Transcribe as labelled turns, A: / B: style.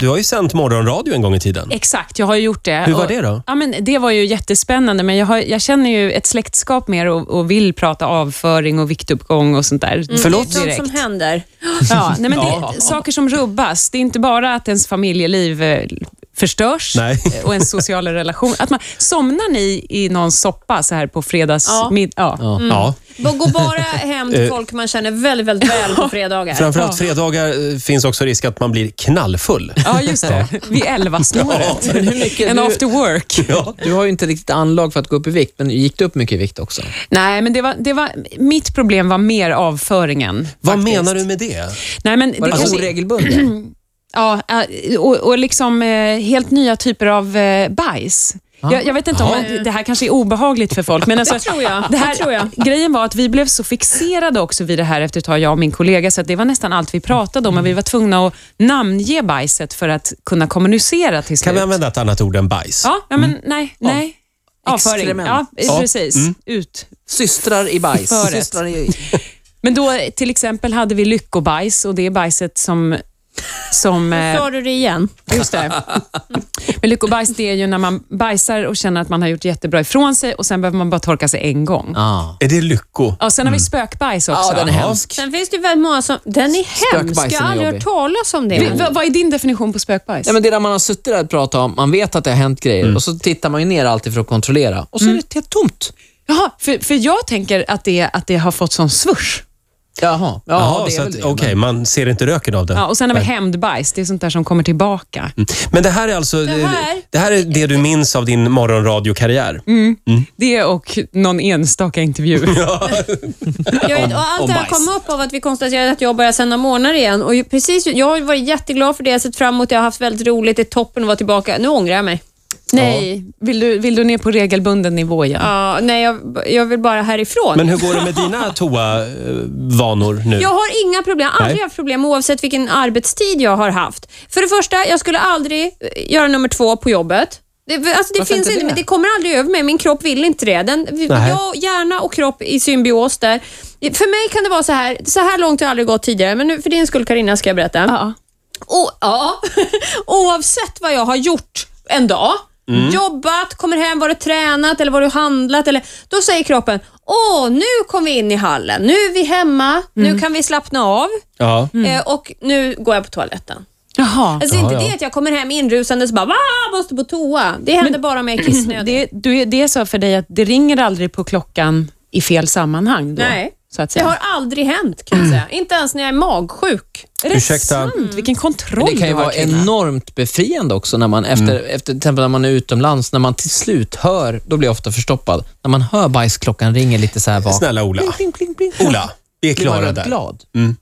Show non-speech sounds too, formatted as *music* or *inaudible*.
A: Du har ju sänt morgonradio en gång i tiden.
B: Exakt, jag har ju gjort det.
A: Hur var
B: Och-
A: det då?
B: Ja, men det var ju jättespännande, men jag, har, jag känner ju ett släktskap med er och, och vill prata avföring och viktuppgång och sånt där.
A: Mm. Förlåt?
C: Det är sånt
B: Direkt.
C: som händer.
B: Ja, nej, men det,
A: Ja.
B: Saker som rubbas. Det är inte bara att ens familjeliv eh, förstörs
A: Nej.
B: eh, *laughs* och ens sociala relation. Att man, somnar ni i någon soppa så här på fredags...
C: Ja.
B: Mid, ja.
A: Ja.
C: Gå bara hem till folk man känner väldigt, väldigt väl på fredagar.
A: Eh. Framförallt fredagar eh, finns också risk att man blir knallfull.
B: ja, just det. Vid *laughs* elvasnåret.
A: *laughs*
D: Men hur mycket-
B: en
D: du-
B: after work.
D: Du har ju inte riktigt anlag för att gå upp i vikt, men gick du upp mycket i vikt också?
B: Nej, men det var, det var, mitt problem var mer avföringen.
A: Vad
B: faktiskt.
A: menar du med det? alltså
B: Nej, men
D: Var
B: det
D: det
B: kanske-
D: oregelbunden?
B: Ja, eh, och, och liksom eh, helt nya typer av eh, bajs. Jag, jag vet inte om det- det här kanske är obehagligt för folk, men alltså,
C: Det tror jag.
B: Det här,
C: Det tror jag.
B: Grejen var att vi blev så fixerade också vid det här efter ett tag, jag och min kollega, så att det var nästan allt vi pratade om, men vi var tvungna att namnge bajset för att kunna kommunicera till slut.
A: Kan vi använda ett annat ord än bajs?
B: Ja, ja men nej, nej. Avföring.
D: Exkrement.
B: Ja,
A: Ja. Mm.
B: precis. Ut.
D: Systrar i bajs.
B: Föret.
D: Systrar i...
B: Men då eh, till exempel hade vi lyckobajs och det är bajset som... som eh,
C: Sa du det igen?
B: Just det. *laughs* Men lyckobajs, det är ju när man bajsar och känner att man har gjort jättebra ifrån sig och sen behöver man bara torka sig en gång.
D: Ah.
A: Är det lycko?
B: Ja, sen har vi spökbajs också.
D: Mm. Ja, den är hemsk.
C: Sen finns det ju väldigt många som... Den är hemsk. Jag
D: Spökbajsen
C: har
D: är
C: aldrig
D: jobbig.
C: hört talas om det.
B: Vi- vad- vad är din definition på spökbajs?
D: Nej, men det där man har suttit där och pratat om, man vet att det har hänt grejer
A: Mm.
D: och så tittar man ju ner alltid för att kontrollera och så är det helt tomt.
B: Jaha, för, för jag tänker att det, att det har fått sån svurs.
D: Jaha, ja,
A: Jaha,
D: det
A: så
D: är väl
A: att-
D: det.
A: okej, man ser inte röken av den.
B: Ja, och sen har vi
A: Nej.
B: hämndbajs, det är sånt där som kommer tillbaka.
D: Mm.
A: Men det här är alltså det
C: här-
A: det här är det du minns av din morgonradiokarriär.
B: Det och någon enstaka
D: *laughs*
B: intervju.
C: Jag vet, och allt
A: om
C: det här
A: bajs.
C: kom upp av att vi konstaterade att jag börjar sända morgnar igen. Och ju- precis, jag har ju varit jätteglad för det. Jag har sett fram emot det. Jag har haft väldigt roligt. Det är toppen att vara tillbaka. Nu ångrar jag mig.
B: Nej, vill du, vill du ner på regelbunden nivå igen?
C: Ja, nej, jag, jag vill bara härifrån.
A: Men hur går det med dina toavanor nu?
C: Jag har inga problem. Jag har aldrig
A: Nej.
C: haft problem oavsett vilken arbetstid jag har haft. För det första, jag skulle aldrig eh, göra nummer två på jobbet. Det, alltså det
D: Varför
C: finns
D: inte
C: inte,
D: det?
C: men det kommer aldrig över mig. Min kropp vill inte det. Den, jag, hjärna och kropp i symbios där. För mig kan det vara så här, så här långt har jag aldrig gått tidigare, men nu, för din skull Karina ska jag berätta.
B: Ja.
C: O- ja. *laughs* Oavsett vad jag har gjort en dag, jobbat, kommer hem, varit tränat eller varit handlat. Eller, då säger kroppen, åh nu kom vi in i hallen, nu är vi hemma, nu kan vi slappna av
A: Ja.
C: eh, och nu går jag på toaletten.
B: Jaha.
C: Alltså
A: Ja,
C: inte
A: ja.
C: det att jag kommer hem inrusandes och bara, Va, måste på toa. Det händer bara om jag är kissnödig.
B: Det, du, är- det är så för dig att det ringer aldrig på klockan i fel sammanhang då?
C: Nej.
B: Så att
C: Det
B: säga.
C: har aldrig hänt kan jag säga. Inte ens när jag är magsjuk.
B: Är det
A: Ursäkta.
B: sant? Vilken kontroll
D: Det kan
B: du
D: ju
B: har,
D: vara
B: Kina.
D: enormt befriande också när man efter,
A: Mm.
D: efter till exempel när man är utomlands, när man till slut hör, då blir jag ofta förstoppad, när man hör bajsklockan ringer lite så här vagt.
A: Snälla Ola. Mm.
D: Pling, pling, pling, pling.
A: Ola, vi är
D: Blir man
A: klara där.
D: glad?